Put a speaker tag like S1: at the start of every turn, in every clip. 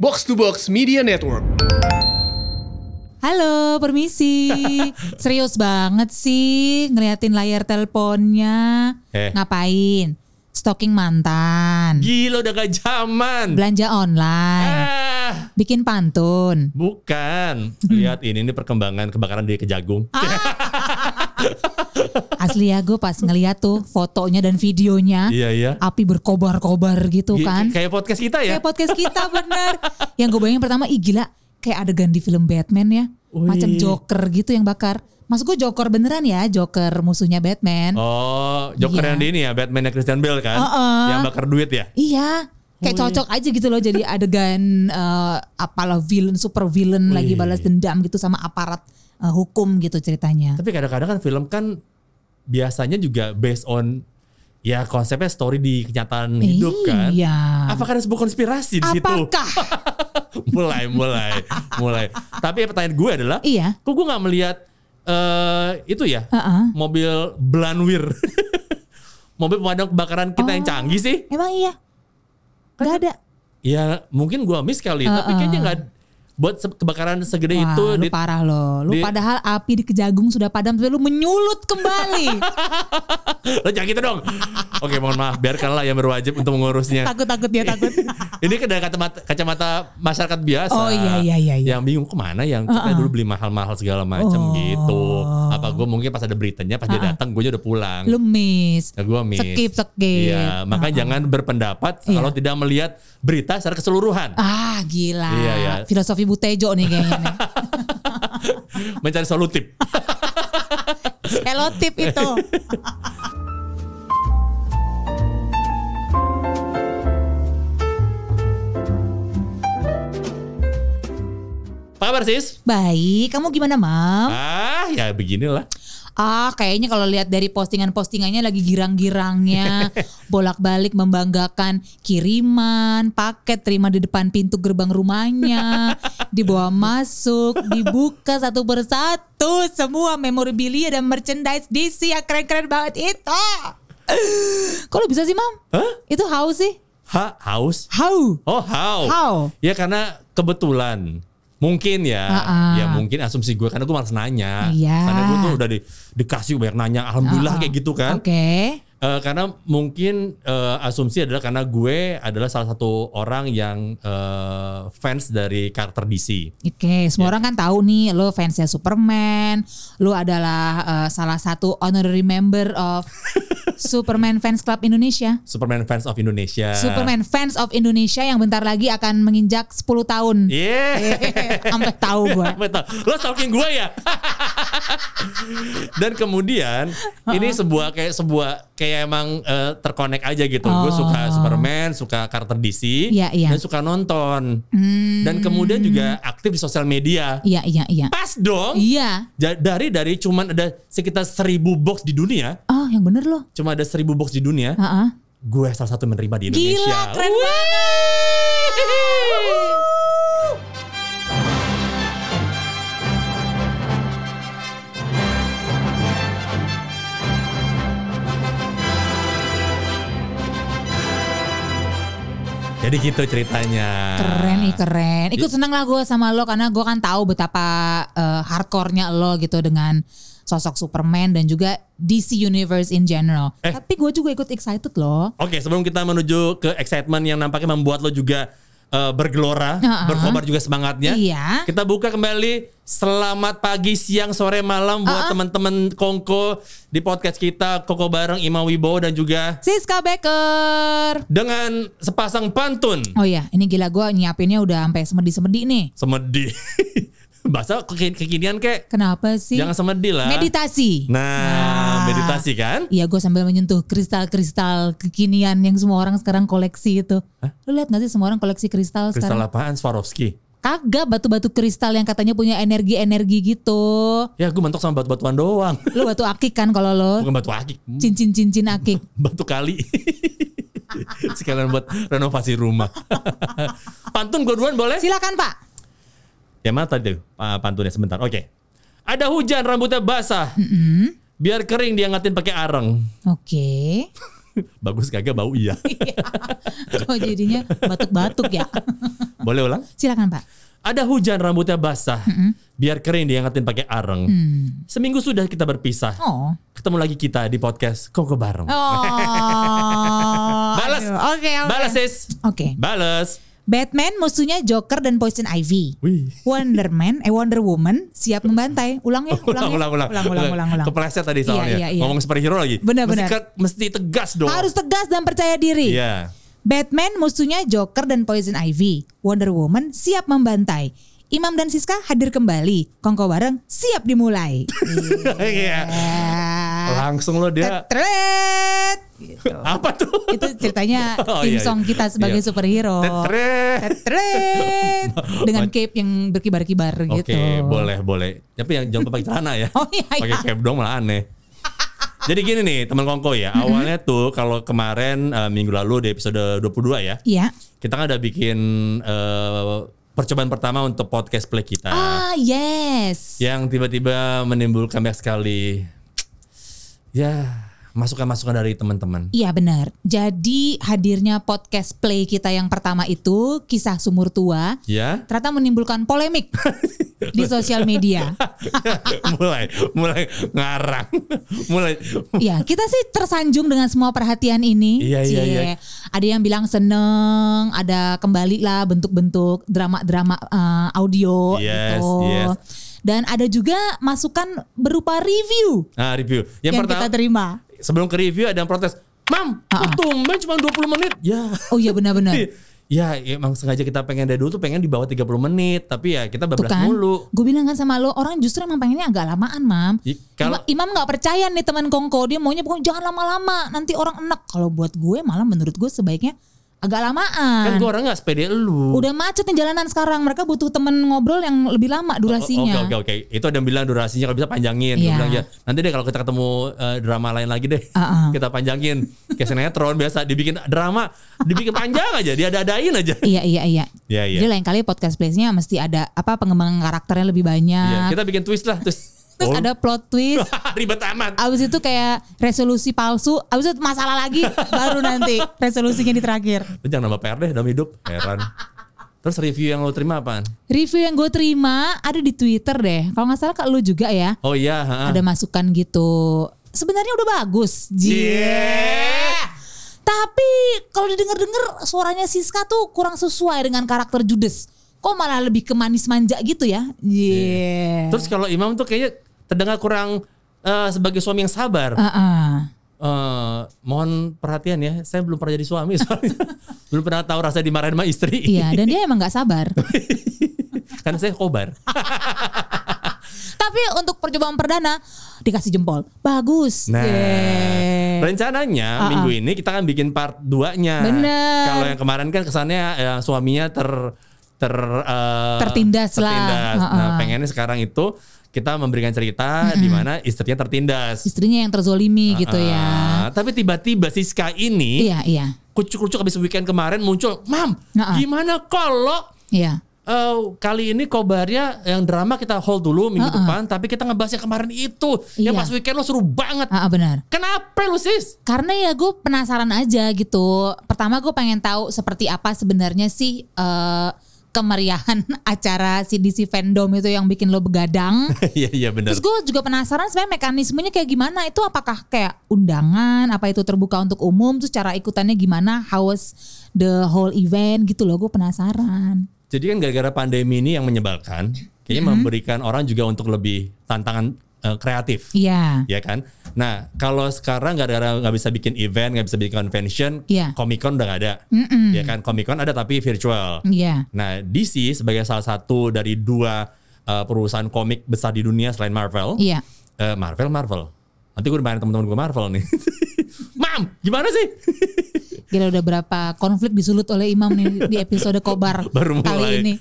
S1: Box to Box Media Network.
S2: Halo, permisi. Serius banget sih ngeliatin layar teleponnya.
S3: Eh.
S2: Ngapain? Stalking mantan.
S3: Gila udah gak zaman.
S2: Belanja online.
S3: Ah,
S2: Bikin pantun.
S3: bukan. Lihat ini ini perkembangan kebakaran di Kejagung.
S2: Ah. Asli ya gue pas ngeliat tuh fotonya dan videonya.
S3: Iya iya.
S2: Api berkobar-kobar gitu
S3: Gi-
S2: kan.
S3: Kayak podcast kita ya.
S2: Kayak podcast kita bener. yang gue bayangin pertama, ih gila. Kayak adegan di film Batman ya.
S3: Wih.
S2: Macam Joker gitu yang bakar. Maksud gue Joker beneran ya. Joker musuhnya Batman.
S3: Oh, Joker
S2: Iya.
S3: yang di ini ya, Batman yang Christian Bale kan,
S2: Heeh.
S3: yang bakar duit ya.
S2: Iya, kayak
S3: Wih.
S2: cocok aja gitu loh jadi adegan eh, apalah villain super villain lagi
S3: Wih.
S2: balas dendam gitu sama aparat eh, hukum gitu ceritanya.
S3: Tapi kadang-kadang kan film kan biasanya juga based on ya konsepnya story di kenyataan hidup kan.
S2: Iya.
S3: Apakah ada sebuah konspirasi di situ?
S2: Apakah?
S3: mulai, mulai, mulai. Tapi pertanyaan gue adalah,
S2: iya.
S3: kok gue nggak melihat eh itu ya
S2: Heeh.
S3: mobil Blanwir, mobil pemadam kebakaran kita
S2: Oh.
S3: yang canggih sih?
S2: Emang iya.
S3: Kan
S2: Gak ada.
S3: Ya mungkin gue miss kali, ya, tapi kayaknya nggak buat se- kebakaran segede
S2: Wah,
S3: itu
S2: lu
S3: di-
S2: parah loh. Lu
S3: di-
S2: padahal api di kejagung sudah padam tapi lu menyulut kembali.
S3: Lo jangan gitu dong. Oke, mohon maaf. Biarkanlah yang berwajib untuk mengurusnya.
S2: Takut-takut dia takut.
S3: Ini kan dari kacamata, kacamata masyarakat biasa.
S2: Oh, iya, iya, iya, iya.
S3: Yang bingung kemana yang kita dulu beli mahal-mahal segala macam
S2: Oh.
S3: gitu. Apa gue mungkin pas ada beritanya pas dia datang gue udah pulang.
S2: lu miss.
S3: Ya, gue miss.
S2: Skip, skip. Iya.
S3: Iya, maka jangan berpendapat kalau tidak melihat berita secara keseluruhan.
S2: Ah, gila.
S3: Iya, iya.
S2: Filosofi Butejo nih kayaknya nih.
S3: Mencari solutif.
S2: Selotip itu.
S3: Apa kabar sis?
S2: Baik, kamu gimana, Mam?
S3: Ah, ya beginilah.
S2: Ah, kayaknya kalau lihat dari postingan-postingannya lagi girang-girangnya, bolak-balik membanggakan kiriman, paket terima di depan pintu gerbang rumahnya, dibawa masuk, dibuka satu persatu, semua memorabilia dan merchandise DC yang keren-keren banget itu. Kok lu bisa sih, Mam?
S3: Hah?
S2: Itu how sih?
S3: Ha, haus?
S2: How?
S3: Oh, how?
S2: How?
S3: Ya karena kebetulan. Mungkin ya,
S2: Ah, ah.
S3: ya mungkin asumsi gue karena gue malas nanya.
S2: Iya.
S3: Karena gue tuh udah di, dikasih banyak nanya,
S2: Ah,
S3: alhamdulillah
S2: ah.
S3: kayak gitu kan.
S2: Oke.
S3: Eh, karena mungkin eh, asumsi adalah karena gue adalah salah satu orang yang eh, fans dari karakter DC.
S2: Oke,
S3: Iya.
S2: semua orang kan tahu nih lo fansnya Superman, lo adalah eh, salah satu honorary member of Superman Fans Club Indonesia.
S3: Superman fans of Indonesia.
S2: Superman Fans of Indonesia yang bentar lagi akan menginjak 10 tahun.
S3: Iya.
S2: Sampai tahu gua.
S3: Betul. Lo stalking gue ya. Dan kemudian ini sebuah kayak sebuah kayak emang eh, terkonek aja gitu.
S2: Oh.
S3: Gue suka Superman, suka karakter DC,
S2: Iya, iya. Hmm.
S3: dan suka nonton. Dan kemudian juga aktif di sosial media.
S2: Iya, iya, iya.
S3: Pas dong.
S2: Iya.
S3: Ja- Dari dari cuman ada sekitar seribu box di dunia,
S2: Oh, yang bener loh.
S3: cuma ada seribu box di dunia.
S2: Heeh.
S3: Gue salah satu menerima di Indonesia.
S2: Gila, keren banget.
S3: Jadi gitu ceritanya.
S2: Keren ya. ih keren. Ikut
S3: Iya.
S2: seneng lah gue sama lo karena gue kan tahu betapa eh, hardcore-nya lo gitu dengan sosok Superman dan juga DC Universe in general.
S3: Eh.
S2: Tapi gue juga ikut excited loh.
S3: Oke, sebelum kita menuju ke excitement yang nampaknya membuat lo juga eh, bergelora,
S2: Heeh.
S3: berkobar juga semangatnya.
S2: Iya.
S3: Kita buka kembali selamat pagi, siang, sore, malam buat teman-teman Kongko di podcast kita Koko bareng Ima Wibowo dan juga
S2: Siska Becker.
S3: dengan sepasang pantun.
S2: Oh iya, ini gila gue nyiapinnya udah sampai semedi-semedi nih.
S3: Semedi. Bahasa keki- kekinian kek.
S2: Kenapa sih?
S3: Jangan semedi lah.
S2: Meditasi.
S3: Nah,
S2: Nah.
S3: meditasi kan?
S2: Iya gue sambil menyentuh kristal-kristal kekinian yang semua orang sekarang koleksi itu. Lu lihat gak sih semua orang koleksi kristal,
S3: Kristal
S2: Iya, sekarang?
S3: apaan Swarovski?
S2: Kagak batu-batu kristal yang katanya punya energi-energi gitu.
S3: Ya gue mentok sama batu-batuan doang.
S2: Lu batu akik kan kalau lo
S3: Bukan batu akik.
S2: cincin-cincin akik.
S3: batu kali sekalian buat renovasi rumah pantun gue duluan boleh
S2: Silakan Pak.
S3: ya mana tadi tuh ah, pantunnya sebentar oke ada hujan rambutnya basah biar kering dia ngatin pakai areng
S2: Oke.
S3: Bagus kagak bau iya.
S2: Kok Oh, jadinya batuk-batuk ya?
S3: Boleh ulang?
S2: Silakan Pak.
S3: Ada hujan rambutnya basah. Biar kering diangkatin pakai areng.
S2: Hmm.
S3: Seminggu sudah kita berpisah.
S2: Oh.
S3: Ketemu lagi kita di podcast Koko Bareng.
S2: Oh.
S3: Balas.
S2: Aduh, Oke, Oh, oke.
S3: Balas ya. sis.
S2: Oke.
S3: Balas.
S2: Batman musuhnya Joker dan Poison Ivy.
S3: Wih.
S2: Wonder Man, eh Wonder Woman siap membantai. Ulang ya, ulang ya.
S3: Eh, ulang, ulang,
S2: ulang, ulang, ulang, ulang.
S3: Kepleset tadi soalnya.
S2: iya, iya.
S3: Ngomong superhero lagi.
S2: Benar,
S3: mesti,
S2: benar.
S3: ke- mesti tegas dong.
S2: Harus tegas dan percaya diri.
S3: Iya.
S2: Batman musuhnya Joker dan Poison Ivy. Wonder Woman siap membantai. Imam dan Siska hadir kembali. Kongko bareng siap dimulai.
S3: Iya. Langsung lo dia
S2: Tetret. Gitu.
S3: apa tuh?
S2: Itu ceritanya
S3: Oh,
S2: tim
S3: iya,
S2: song
S3: iya.
S2: kita sebagai
S3: Iya.
S2: superhero.
S3: Tetret. Oh,
S2: Tetret. Dengan cape yang berkibar-kibar
S3: Oke,
S2: gitu.
S3: boleh, boleh. Tapi yang jangan lupa pakai celana ya.
S2: Oh, iya,
S3: Pakai
S2: iya.
S3: cap dong malah aneh. Jadi gini nih, teman Kongko ya.
S2: Mm-hmm.
S3: Awalnya tuh kalau kemarin eh, minggu lalu di episode 22 ya,
S2: Iya.
S3: kita kan udah bikin eh, percobaan pertama untuk podcast play kita.
S2: Ah, yes.
S3: yang tiba-tiba menimbulkan banyak sekali ya masukan-masukan dari teman-teman.
S2: Iya benar. Jadi hadirnya podcast play kita yang pertama itu kisah sumur tua
S3: Ya,
S2: ternyata menimbulkan polemik di sosial media.
S3: mulai mulai ngarang, mulai
S2: Ya kita sih tersanjung dengan semua perhatian ini.
S3: Iya, iya,
S2: Cie.
S3: iya.
S2: Ada yang bilang seneng, ada kembali lah bentuk-bentuk drama-drama eh, audio
S3: Yes,
S2: gitu.
S3: yes.
S2: Dan ada juga masukan berupa review
S3: nah, review. Yang,
S2: yang,
S3: pertama
S2: kita terima.
S3: sebelum ke review ada yang protes, "Mam,
S2: Ah.
S3: kok tumben cuma 20 menit?" Ya.
S2: Oh iya benar-benar.
S3: Ya, emang sengaja kita pengen dari dulu tuh pengen di bawah 30 menit, tapi ya kita
S2: Tuh
S3: bablas
S2: kan,
S3: mulu.
S2: gue bilang kan sama lo orang justru emang pengennya agak lamaan, mam.
S3: I- kalau-
S2: Ima- Imam nggak percaya nih teman Kongko dia maunya pokoknya jangan lama-lama, nanti orang enak. Kalau buat gue malah menurut gue sebaiknya agak
S3: Kan
S2: lamaan.
S3: gua orang gak sepede lu.
S2: Udah macet nih jalanan sekarang, mereka butuh temen ngobrol yang lebih lama
S3: Oke
S2: durasinya.
S3: Oh, oke oke. Itu ada yang bilang durasinya kalau bisa panjangin.
S2: Iya.
S3: Dia bilang ya nanti deh kalau kita ketemu eh, drama lain lagi deh
S2: Uh-uh.
S3: kita panjangin. Kayak sinetron biasa dibikin drama, dibikin panjang aja, diada-adain aja.
S2: Iya iya iya.
S3: Iya iya.
S2: Jadi lain kali podcast place-nya mesti ada apa pengembangan karakternya lebih
S3: Iya,
S2: banyak.
S3: Kita bikin twist lah terus.
S2: Terus
S3: Oh,
S2: ada plot twist.
S3: ribet amat.
S2: Abis itu kayak resolusi palsu, abis itu masalah lagi baru nanti resolusinya di terakhir.
S3: Lu jangan nambah PR deh dalam hidup. Heran. Terus review yang lo terima apaan?
S2: Review yang gue terima ada di Twitter deh. Kalau nggak salah kak lu juga ya.
S3: Oh iya. ha-ha.
S2: Ada masukan gitu. Sebenarnya udah bagus. Jie.
S3: Jie.
S2: Tapi kalau didengar-dengar suaranya Siska tuh kurang sesuai dengan karakter Judas. Kok malah lebih ke manis manja gitu ya? Iya.
S3: Terus kalau Imam tuh kayaknya terdengar kurang eh, sebagai suami yang sabar. Eh, mohon perhatian ya, saya belum pernah jadi suami soalnya. belum pernah tahu rasa dimarahin sama istri.
S2: Iya, dan dia emang nggak sabar.
S3: Karena saya kobar.
S2: Tapi untuk percobaan perdana dikasih jempol. Bagus.
S3: Nah,
S2: Yeay.
S3: rencananya minggu ini kita akan bikin part 2-nya.
S2: Ah, Bener.
S3: Kalau yang kemarin kan kesannya eh, suaminya ter ter eh,
S2: Tertindas lah. Ah,
S3: tertindas. Nah,
S2: Ha-ha.
S3: pengennya sekarang itu kita memberikan cerita di mana istrinya tertindas.
S2: Istrinya yang terzolimi gitu ya.
S3: Ah, tapi tiba-tiba Siska ini
S2: Iya, iya.
S3: kucuk-kucuk habis weekend kemarin muncul, "Mam,
S2: Ha-ha.
S3: gimana kalau
S2: Iya.
S3: eh, kali ini kobarnya yang drama kita hold dulu minggu depan, tapi kita ngebahas yang kemarin itu. Yang
S2: Ah, Iya.
S3: pas weekend lo seru banget.
S2: Ah, ah, benar.
S3: Kenapa lu sis?
S2: Karena ya gue penasaran aja gitu. Pertama gue pengen tahu seperti apa sebenarnya sih eh, kemeriahan acara CDC fandom itu yang bikin lo begadang.
S3: Iya iya benar.
S2: Terus gue juga penasaran sebenarnya mekanismenya kayak gimana? Itu apakah kayak undangan? Apa itu terbuka untuk umum? Terus cara ikutannya gimana? How was the whole event gitu loh? Gue penasaran.
S3: Jadi kan gara-gara pandemi ini yang menyebalkan, kayaknya memberikan orang juga untuk lebih tantangan eh, kreatif.
S2: Iya.
S3: Ya kan. Nah kalau sekarang gara-gara nggak bisa bikin event, nggak bisa bikin convention,
S2: Iya.
S3: Comic Con udah nggak ada.
S2: Mm-mm.
S3: Ya kan. Comic Con ada tapi virtual.
S2: Iya.
S3: Nah DC sebagai salah satu dari dua eh, perusahaan komik besar di dunia selain Marvel,
S2: Iya.
S3: Eh, Marvel Marvel. Nanti gue dimarahin teman-teman gue Marvel nih. Mam, gimana sih?
S2: Gila udah berapa konflik disulut oleh Imam nih di episode Kobar kali
S3: Baru mulai.
S2: ini.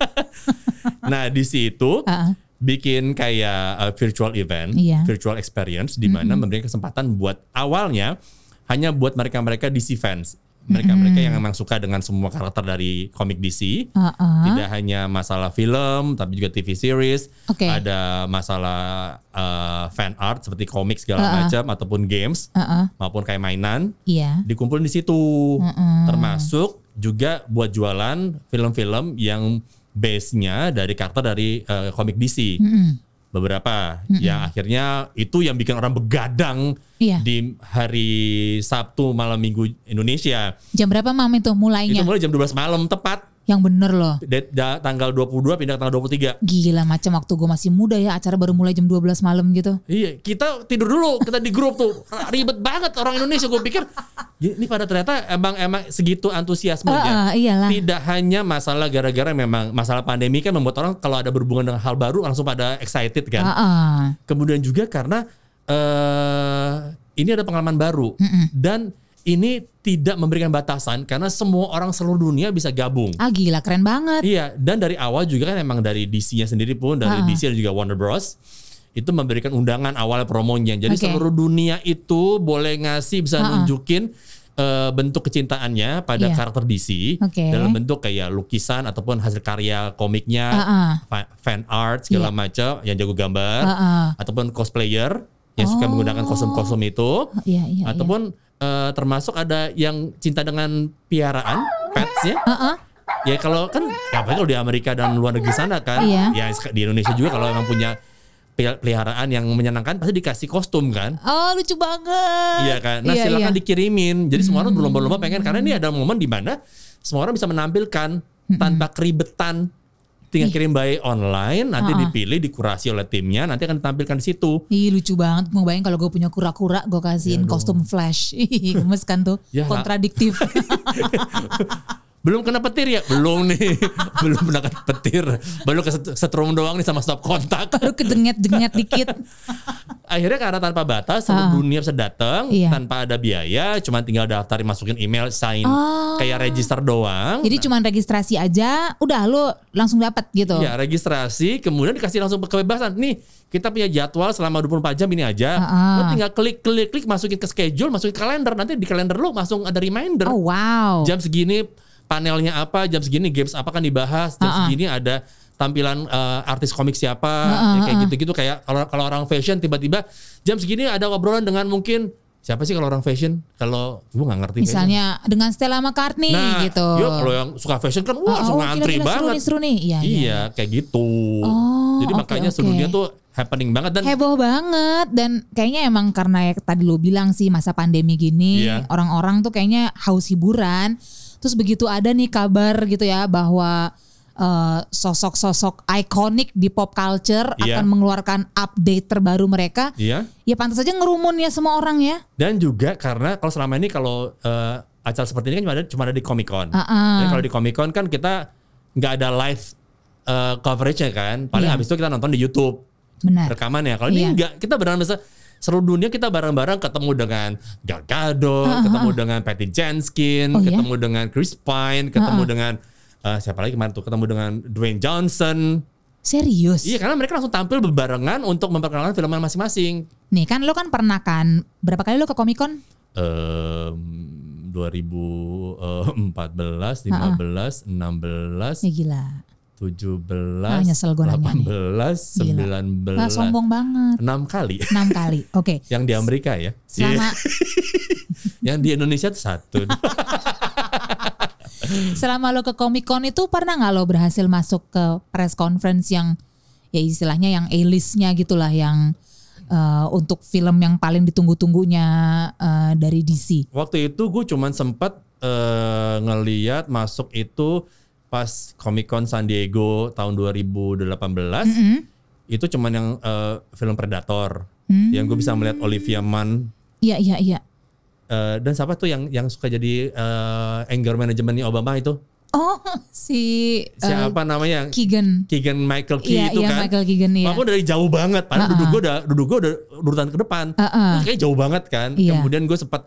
S3: nah di situ
S2: Ah, ah.
S3: bikin kayak uh, virtual event,
S2: Iya.
S3: virtual experience di mana memberikan kesempatan buat awalnya hanya buat mereka-mereka DC fans mereka-mereka yang memang suka dengan semua karakter dari komik DC.
S2: Heeh.
S3: Tidak hanya masalah film, tapi juga TV series.
S2: Oke.
S3: Ada masalah eh, fan art seperti komik segala
S2: Heeh.
S3: macam ataupun games
S2: Heeh.
S3: maupun kayak mainan
S2: Iya.
S3: dikumpulin di situ. Termasuk juga buat jualan film-film yang base-nya dari karakter dari eh, komik DC. Beberapa yang akhirnya itu yang bikin orang begadang
S2: Iya.
S3: di hari Sabtu malam Minggu Indonesia.
S2: Jam berapa mam itu
S3: Itu
S2: mulainya?
S3: mulai jam 12 malam tepat
S2: yang bener loh.
S3: da- da- tanggal 22 pindah ke tanggal 23.
S2: Gila macam waktu gue masih muda ya acara baru mulai jam 12 malam gitu.
S3: Iya, kita tidur dulu, kita di grup tuh ribet banget orang Indonesia. Gue pikir ini pada ternyata emang emang segitu antusiasmenya.
S2: Heeh, iyalah.
S3: Tidak hanya masalah gara-gara memang masalah pandemi kan membuat orang kalau ada berhubungan dengan hal baru langsung pada excited kan.
S2: Heeh.
S3: Kemudian juga karena eh ini ada pengalaman baru dan ini tidak memberikan batasan karena semua orang seluruh dunia bisa gabung.
S2: Ah gila keren banget.
S3: Iya, dan dari awal juga kan emang dari DC-nya sendiri pun dari
S2: Ah.
S3: DC dan juga Warner Bros itu memberikan undangan awal promonya. Jadi
S2: Oke.
S3: seluruh dunia itu boleh ngasih bisa
S2: Ah, ah.
S3: nunjukin eh, bentuk kecintaannya pada
S2: Iya.
S3: karakter DC
S2: Oke.
S3: dalam bentuk kayak lukisan ataupun hasil karya komiknya,
S2: Ah, ah.
S3: fa- fan art segala
S2: Iya.
S3: macam yang jago gambar
S2: Ah, ah.
S3: ataupun cosplayer yang suka
S2: Oh.
S3: menggunakan kostum-kostum itu
S2: Iya iya. iya.
S3: ataupun eh, termasuk ada yang cinta dengan piaraan pets ya.
S2: Heeh.
S3: Ya kalau kan ya apalagi kalau di Amerika dan luar negeri sana kan,
S2: Iya.
S3: ya sek- di Indonesia juga kalau emang punya pel- peliharaan yang menyenangkan pasti dikasih kostum kan.
S2: Oh lucu banget.
S3: Iya kan. Nah,
S2: Iya, Hmm.
S3: silakan
S2: iya.
S3: dikirimin. Jadi semua orang berlomba-lomba pengen karena ini ada momen di mana semua orang bisa menampilkan
S2: Hmm.
S3: tanpa keribetan. Tinggal kirim by online, nanti
S2: Ha-ha.
S3: dipilih, dikurasi oleh timnya, nanti akan ditampilkan di situ.
S2: Ih lucu banget. Mau bayangin kalau gue punya kura-kura gue
S3: Iya
S2: kasihin kostum flash. Ih, Gemes kan tuh.
S3: Ya, nggak.
S2: Kontradiktif.
S3: Belum kena petir ya? Belum nih. Belum pernah kena petir. Baru keset- setrum doang nih sama stop kontak.
S2: Baru kejenget-jenget dikit.
S3: akhirnya karena tanpa batas seluruh dunia bisa datang
S2: Iya.
S3: tanpa ada biaya cuma tinggal daftar masukin email sign
S2: Oh. Gitu.
S3: kayak register doang
S2: Jadi cuman registrasi aja. Udah lu langsung dapat gitu.
S3: ya registrasi kemudian dikasih langsung kebebasan nih kita punya jadwal selama 24 jam ini aja
S2: Ah.
S3: lo tinggal klik klik klik masukin ke schedule masukin ke kalender nanti di kalender lo langsung ada reminder
S2: Oh wow.
S3: jam segini panelnya apa jam segini games apa kan dibahas jam
S2: Ah, ah.
S3: segini ada tampilan eh, artis komik siapa
S2: Ah, ah,
S3: ya kayak
S2: ah.
S3: gitu-gitu kayak kalau kalau orang fashion tiba-tiba jam segini ada obrolan dengan mungkin siapa sih kalau orang fashion kalau gue nggak ngerti kayaknya.
S2: Misalnya dengan Stella McCartney
S3: nah
S2: gitu.
S3: yuk, kalau yang suka fashion kan wah
S2: Oh,
S3: langsung
S2: oh,
S3: ngantri
S2: gila-gila, seru
S3: banget
S2: nih, seru nih. Iya,
S3: iya,
S2: iya.
S3: kayak gitu
S2: Oh,
S3: jadi
S2: oke,
S3: makanya
S2: oke.
S3: seluruhnya tuh happening banget dan
S2: heboh banget dan kayaknya emang karena ya tadi lo bilang sih masa pandemi gini
S3: Iya.
S2: orang-orang tuh kayaknya haus hiburan terus begitu ada nih kabar gitu ya bahwa eh, sosok-sosok ikonik di pop culture
S3: Iya.
S2: akan mengeluarkan update terbaru mereka
S3: iya
S2: ya pantas aja ngerumun ya semua orang ya
S3: dan juga karena kalau selama ini kalau eh, acara seperti ini kan cuma ada cuma ada di Comic Con.
S2: Ah-ah.
S3: Jadi kalau di Comic Con kan kita nggak ada live eh, coverage-nya kan. Paling
S2: Iya.
S3: habis itu kita nonton di YouTube
S2: benar
S3: rekamannya. Kalau
S2: Iya.
S3: ini nggak, kita bareng bisa seluruh dunia kita bareng-bareng ketemu dengan Gal Gadot, ketemu dengan Patty Jenkins,
S2: Ah, Oh, iya? Ah,
S3: ketemu dengan Chris Pine, ketemu dengan eh, siapa lagi kemarin tuh ketemu dengan Dwayne Johnson.
S2: serius
S3: Iya, karena mereka langsung tampil berbarengan untuk memperkenalkan filmnya masing-masing.
S2: nih kan lo kan pernah kan berapa kali lo ke Comic Con
S3: Em, eh, 2014, 15, 16,
S2: ya gila
S3: 17,
S2: Ah, nyesel gua nanya nih.
S3: 18, 19,
S2: Wah, sombong banget
S3: 6 kali.
S2: enam kali oke
S3: Yang di Amerika ya.
S2: selama
S3: Iya. Yang di Indonesia tuh satu.
S2: Selama lo ke Comic Con itu pernah nggak lo berhasil masuk ke press conference yang ya istilahnya yang A-listnya gitulah yang eh, untuk film yang paling ditunggu-tunggunya eh, dari DC.
S3: Waktu itu gue cuman sempat eh, ngeliat masuk itu pas Comic Con San Diego tahun 2018. Itu cuman yang eh, film Predator.
S2: Hmm.
S3: Yang gue bisa melihat Olivia Munn
S2: Iya iya iya.
S3: Eh, dan siapa tuh yang yang suka jadi eh, anger manajemennya Obama itu
S2: Oh si eh,
S3: siapa namanya yang
S2: Keegan.
S3: Keegan Michael Key
S2: Iya
S3: itu
S2: iya Uh-uh.
S3: kan
S2: Michael Keegan ya.
S3: Walaupun dari jauh banget, padahal duduk gue udah duduk gue udah urutan ke depan,
S2: Ah, ah.
S3: Terus kayaknya jauh banget kan.
S2: Iya.
S3: Kemudian gue sempat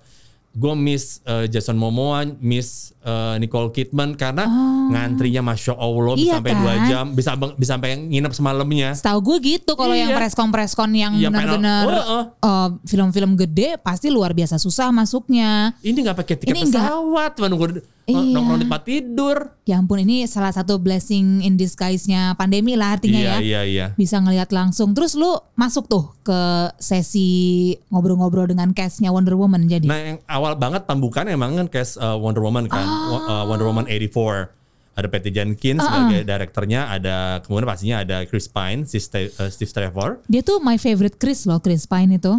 S3: gue miss eh, Jason Momoa, miss eh, Nicole Kidman karena ngantrinya masya Allah bisa
S2: Oh. Iya
S3: sampai dua
S2: kan?
S3: jam, bisa bang- bisa sampai nginep semalamnya.
S2: Setahu gue gitu kalau yang
S3: Iya.
S2: preskon-preskon yang
S3: Iya,
S2: benar-benar
S3: panel. Oh,
S2: eh, film-film gede pasti luar biasa susah masuknya.
S3: Ini nggak pakai tiket
S2: Ini nggak.
S3: pesawat, cuma nunggu
S2: Iya.
S3: nongkrong di tempat tidur.
S2: Ya ampun ini salah satu blessing in disguise-nya pandemi lah artinya ya.
S3: iya, iya, iya.
S2: Bisa ngelihat langsung. Terus lu masuk tuh ke sesi ngobrol-ngobrol dengan cast-nya Wonder Woman jadi.
S3: Nah yang awal banget pambukan emang kan kayak uh, Wonder Woman kan,
S2: Oh.
S3: Wo- uh, Wonder Woman 84. Ada Patty Jenkins sebagai direkturnya, ada kemudian pastinya ada Chris Pine, si Ste- uh, Steve Trevor,
S2: Dia tuh my favorite Chris loh, Chris Pine itu.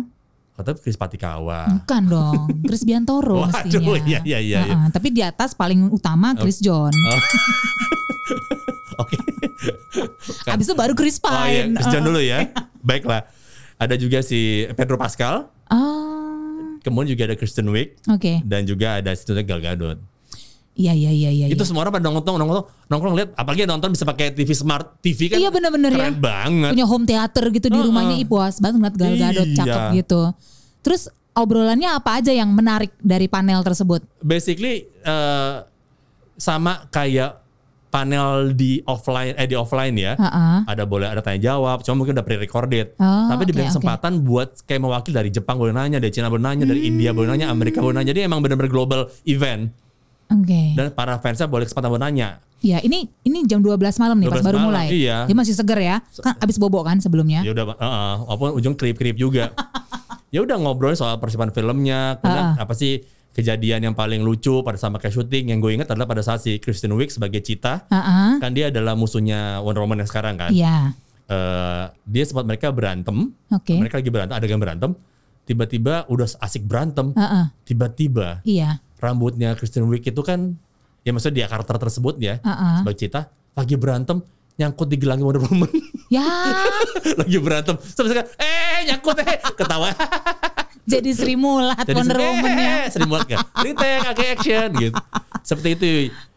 S3: atau Chris Patikawa.
S2: Bukan dong, Chris Biantoro
S3: Waduh,
S2: mestinya.
S3: iya, iya, iya, Oh. iya.
S2: Heeh, Tapi di atas paling utama Chris John.
S3: Oke. Kan-
S2: Abis itu baru Chris Pine.
S3: Oh iya, Chris John
S2: Heeh.
S3: dulu ya. Baiklah. Ada juga si Pedro Pascal,
S2: Ah,
S3: kemudian juga ada Kristen Wiig
S2: Oke.
S3: dan juga ada situ Gal Gadot.
S2: Iya iya iya iya.
S3: Itu
S2: iya.
S3: semua orang pada nongkrong nongkrong nongkrong lihat apalagi nonton bisa pakai TV smart TV kan.
S2: Iya, bener-bener ya.
S3: Keren banget.
S2: punya home theater gitu di
S3: Heeh.
S2: rumahnya Ih puas banget ngeliat Gal Gadot
S3: Iya.
S2: cakep gitu. Terus obrolannya apa aja yang menarik dari panel tersebut?
S3: basically eh, sama kayak panel di offline eh di offline ya.
S2: Heeh.
S3: Ada boleh ada tanya jawab, cuma mungkin udah pre-recorded.
S2: Oh,
S3: Tapi diberi
S2: oke,
S3: kesempatan buat kayak mewakil dari Jepang boleh nanya, dari Cina boleh nanya,
S2: Hmm.
S3: dari India boleh nanya, Amerika boleh nanya. Jadi emang benar-benar global event
S2: Oke.
S3: dan para fansnya boleh kesempatan buat nanya.
S2: Ya ini ini jam 12 malam nih pas
S3: 12
S2: baru
S3: malam,
S2: mulai.
S3: iya.
S2: Dia masih seger ya. Kan abis bobo kan sebelumnya.
S3: Ya udah eh, eh, walaupun ujung krip-krip juga. ya udah ngobrolin soal persiapan filmnya, kemudian apa sih kejadian yang paling lucu pada sama kayak syuting yang gue ingat adalah pada saat si Kristen Wiig sebagai Cita
S2: Heeh.
S3: kan dia adalah musuhnya Wonder Woman yang sekarang kan.
S2: Iya.
S3: Eh, dia sempat mereka berantem,
S2: Oke.
S3: mereka lagi berantem, adegan berantem. Tiba-tiba udah asik berantem,
S2: Heeh.
S3: tiba-tiba
S2: Iya.
S3: rambutnya Kristen Wiig itu kan, ya maksudnya dia karakter tersebut ya,
S2: Heeh.
S3: sebagai Cita lagi berantem nyangkut di gelangnya Wonder Woman,
S2: Ya.
S3: lagi berantem, terus mereka, eh nyangkut eh ketawa,
S2: jadi Sri Mulat Wonder
S3: sering,
S2: Woman ya.
S3: eh, sering banget kan, retake, kakek action gitu, seperti itu,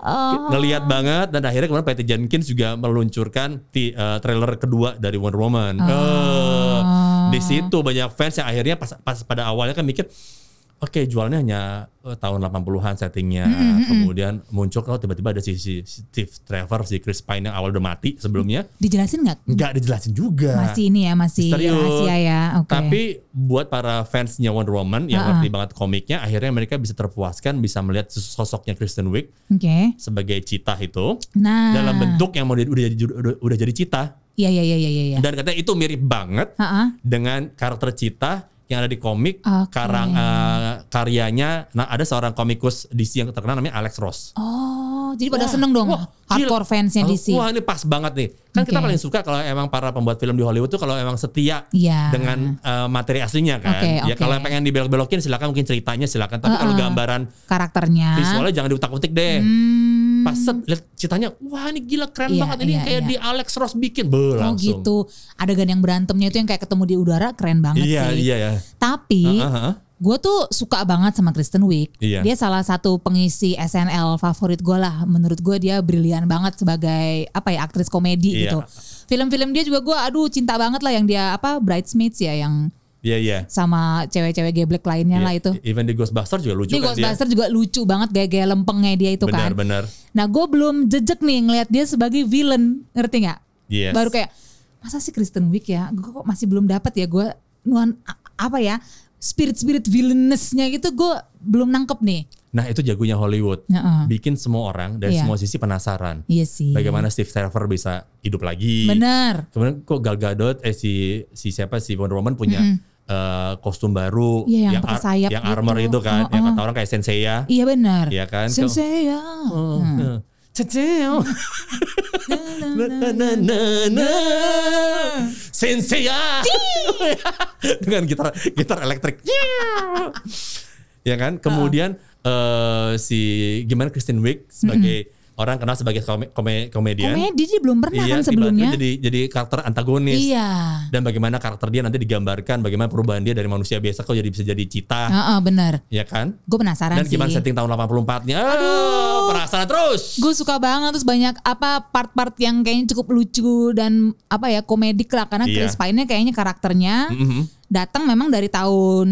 S2: Oh.
S3: ngelihat banget dan akhirnya kemarin Patty Jenkins juga meluncurkan ti- eh, trailer kedua dari Wonder Woman.
S2: Oh.
S3: Eh, di situ banyak fans yang akhirnya pas, pas pada awalnya kan mikir oke jualnya hanya eh, tahun 80-an settingnya
S2: Mm,
S3: kemudian muncul kalau tiba-tiba ada si, si Steve Trevor si Chris Pine yang awal udah mati sebelumnya
S2: Dijelasin nggak?
S3: nggak dijelasin juga
S2: Masih ini ya masih
S3: Misterius.
S2: rahasia ya. Oke.
S3: Tapi buat para fansnya Wonder Woman yang
S2: Ah, ah.
S3: ngerti banget komiknya, akhirnya mereka bisa terpuaskan bisa melihat sosoknya Kristen Wiig
S2: Oke.
S3: sebagai Cita itu
S2: Nah.
S3: dalam bentuk yang mau dia- udah jadi udah, udah jadi cita
S2: Iya iya iya iya iya.
S3: dan katanya itu mirip banget
S2: Heeh.
S3: dengan karakter cita yang ada di komik
S2: Oke.
S3: karang eh, karyanya nah ada seorang komikus DC yang terkenal namanya Alex Ross
S2: Oh, jadi pada seneng dong
S3: wah,
S2: hardcore
S3: gila.
S2: fansnya
S3: Langsung,
S2: DC.
S3: wah ini pas banget nih kan kita
S2: Oke.
S3: paling suka kalau emang para pembuat film di Hollywood tuh kalau emang setia
S2: Iya.
S3: dengan eh, materi aslinya kan
S2: Oke,
S3: ya
S2: oke.
S3: kalau yang pengen dibelok-belokin silakan mungkin ceritanya silakan tapi
S2: Uh-uh.
S3: kalau gambaran
S2: Karakternya.
S3: visualnya jangan diutak-utik deh
S2: Hmm.
S3: pas set lihat ceritanya wah ini gila keren
S2: Iya,
S3: banget ini
S2: iya,
S3: kayak
S2: iya.
S3: di Alex Ross bikin Beuh,
S2: Oh
S3: langsung
S2: gitu. Adegan yang berantemnya itu yang kayak ketemu di udara keren banget
S3: iya
S2: sih.
S3: iya ya
S2: Tapi
S3: Heeh, heeh.
S2: gue tuh suka banget sama Kristen Wiig.
S3: Iya.
S2: Dia salah satu pengisi SNL favorit gue lah. Menurut gue dia brilian banget sebagai apa ya aktris komedi
S3: Iya.
S2: gitu. Film-film dia juga gue aduh cinta banget lah yang dia apa Bridesmaids ya yang
S3: iya iya
S2: sama cewek-cewek geblek lainnya
S3: Iya,
S2: lah itu.
S3: Even di Ghostbusters juga lucu
S2: Di
S3: kan dia.
S2: Ghostbuster juga lucu banget gaya-gaya lempengnya dia itu kan.
S3: Benar-benar.
S2: Nah gue belum jejek nih ngelihat dia sebagai villain, ngerti nggak?
S3: Yes.
S2: Baru kayak masa sih Kristen Wiig ya? Gue kok masih belum dapat ya gue nuan a- apa ya spirit-spirit villainessnya gitu gue belum nangkep nih.
S3: Nah itu jagonya Hollywood.
S2: Heeh.
S3: Bikin semua orang dari
S2: Iya.
S3: semua sisi penasaran.
S2: Iya sih.
S3: Bagaimana Steve Trevor bisa hidup lagi.
S2: Bener.
S3: Kemudian kok Gal Gadot, eh si, si siapa, si Wonder Woman punya eh, kostum baru.
S2: Iya, yang pakai
S3: ar-
S2: sayap
S3: Yang armor
S2: gitu.
S3: itu kan.
S2: Heeh.
S3: Yang kata orang kayak Oh, Sensei ya.
S2: Iya benar.
S3: Iya kan?
S2: Sensei ya.
S3: Na, na, na, na, na. Sensei ya. Dengan gitar gitar elektrik. Iya. ya kan? Kemudian eh, si gimana Kristen Wiig sebagai orang kenal sebagai kome- kome- komedian.
S2: Komedi dia belum pernah kan
S3: Iya,
S2: sebelumnya.
S3: tiba-tiba jadi jadi karakter antagonis.
S2: Iya.
S3: Dan bagaimana karakter dia nanti digambarkan bagaimana perubahan dia dari manusia biasa kok jadi bisa jadi cita,
S2: Heeh, benar.
S3: ya kan?
S2: Gue penasaran
S3: Dan
S2: Oh. sih.
S3: gimana setting tahun 84-nya? Aduh, penasaran terus.
S2: Gue suka banget terus banyak apa part-part yang kayaknya cukup lucu dan apa ya komedik lah karena
S3: Iya.
S2: Chris Pine-nya kayaknya karakternya
S3: Mhm.
S2: datang memang dari tahun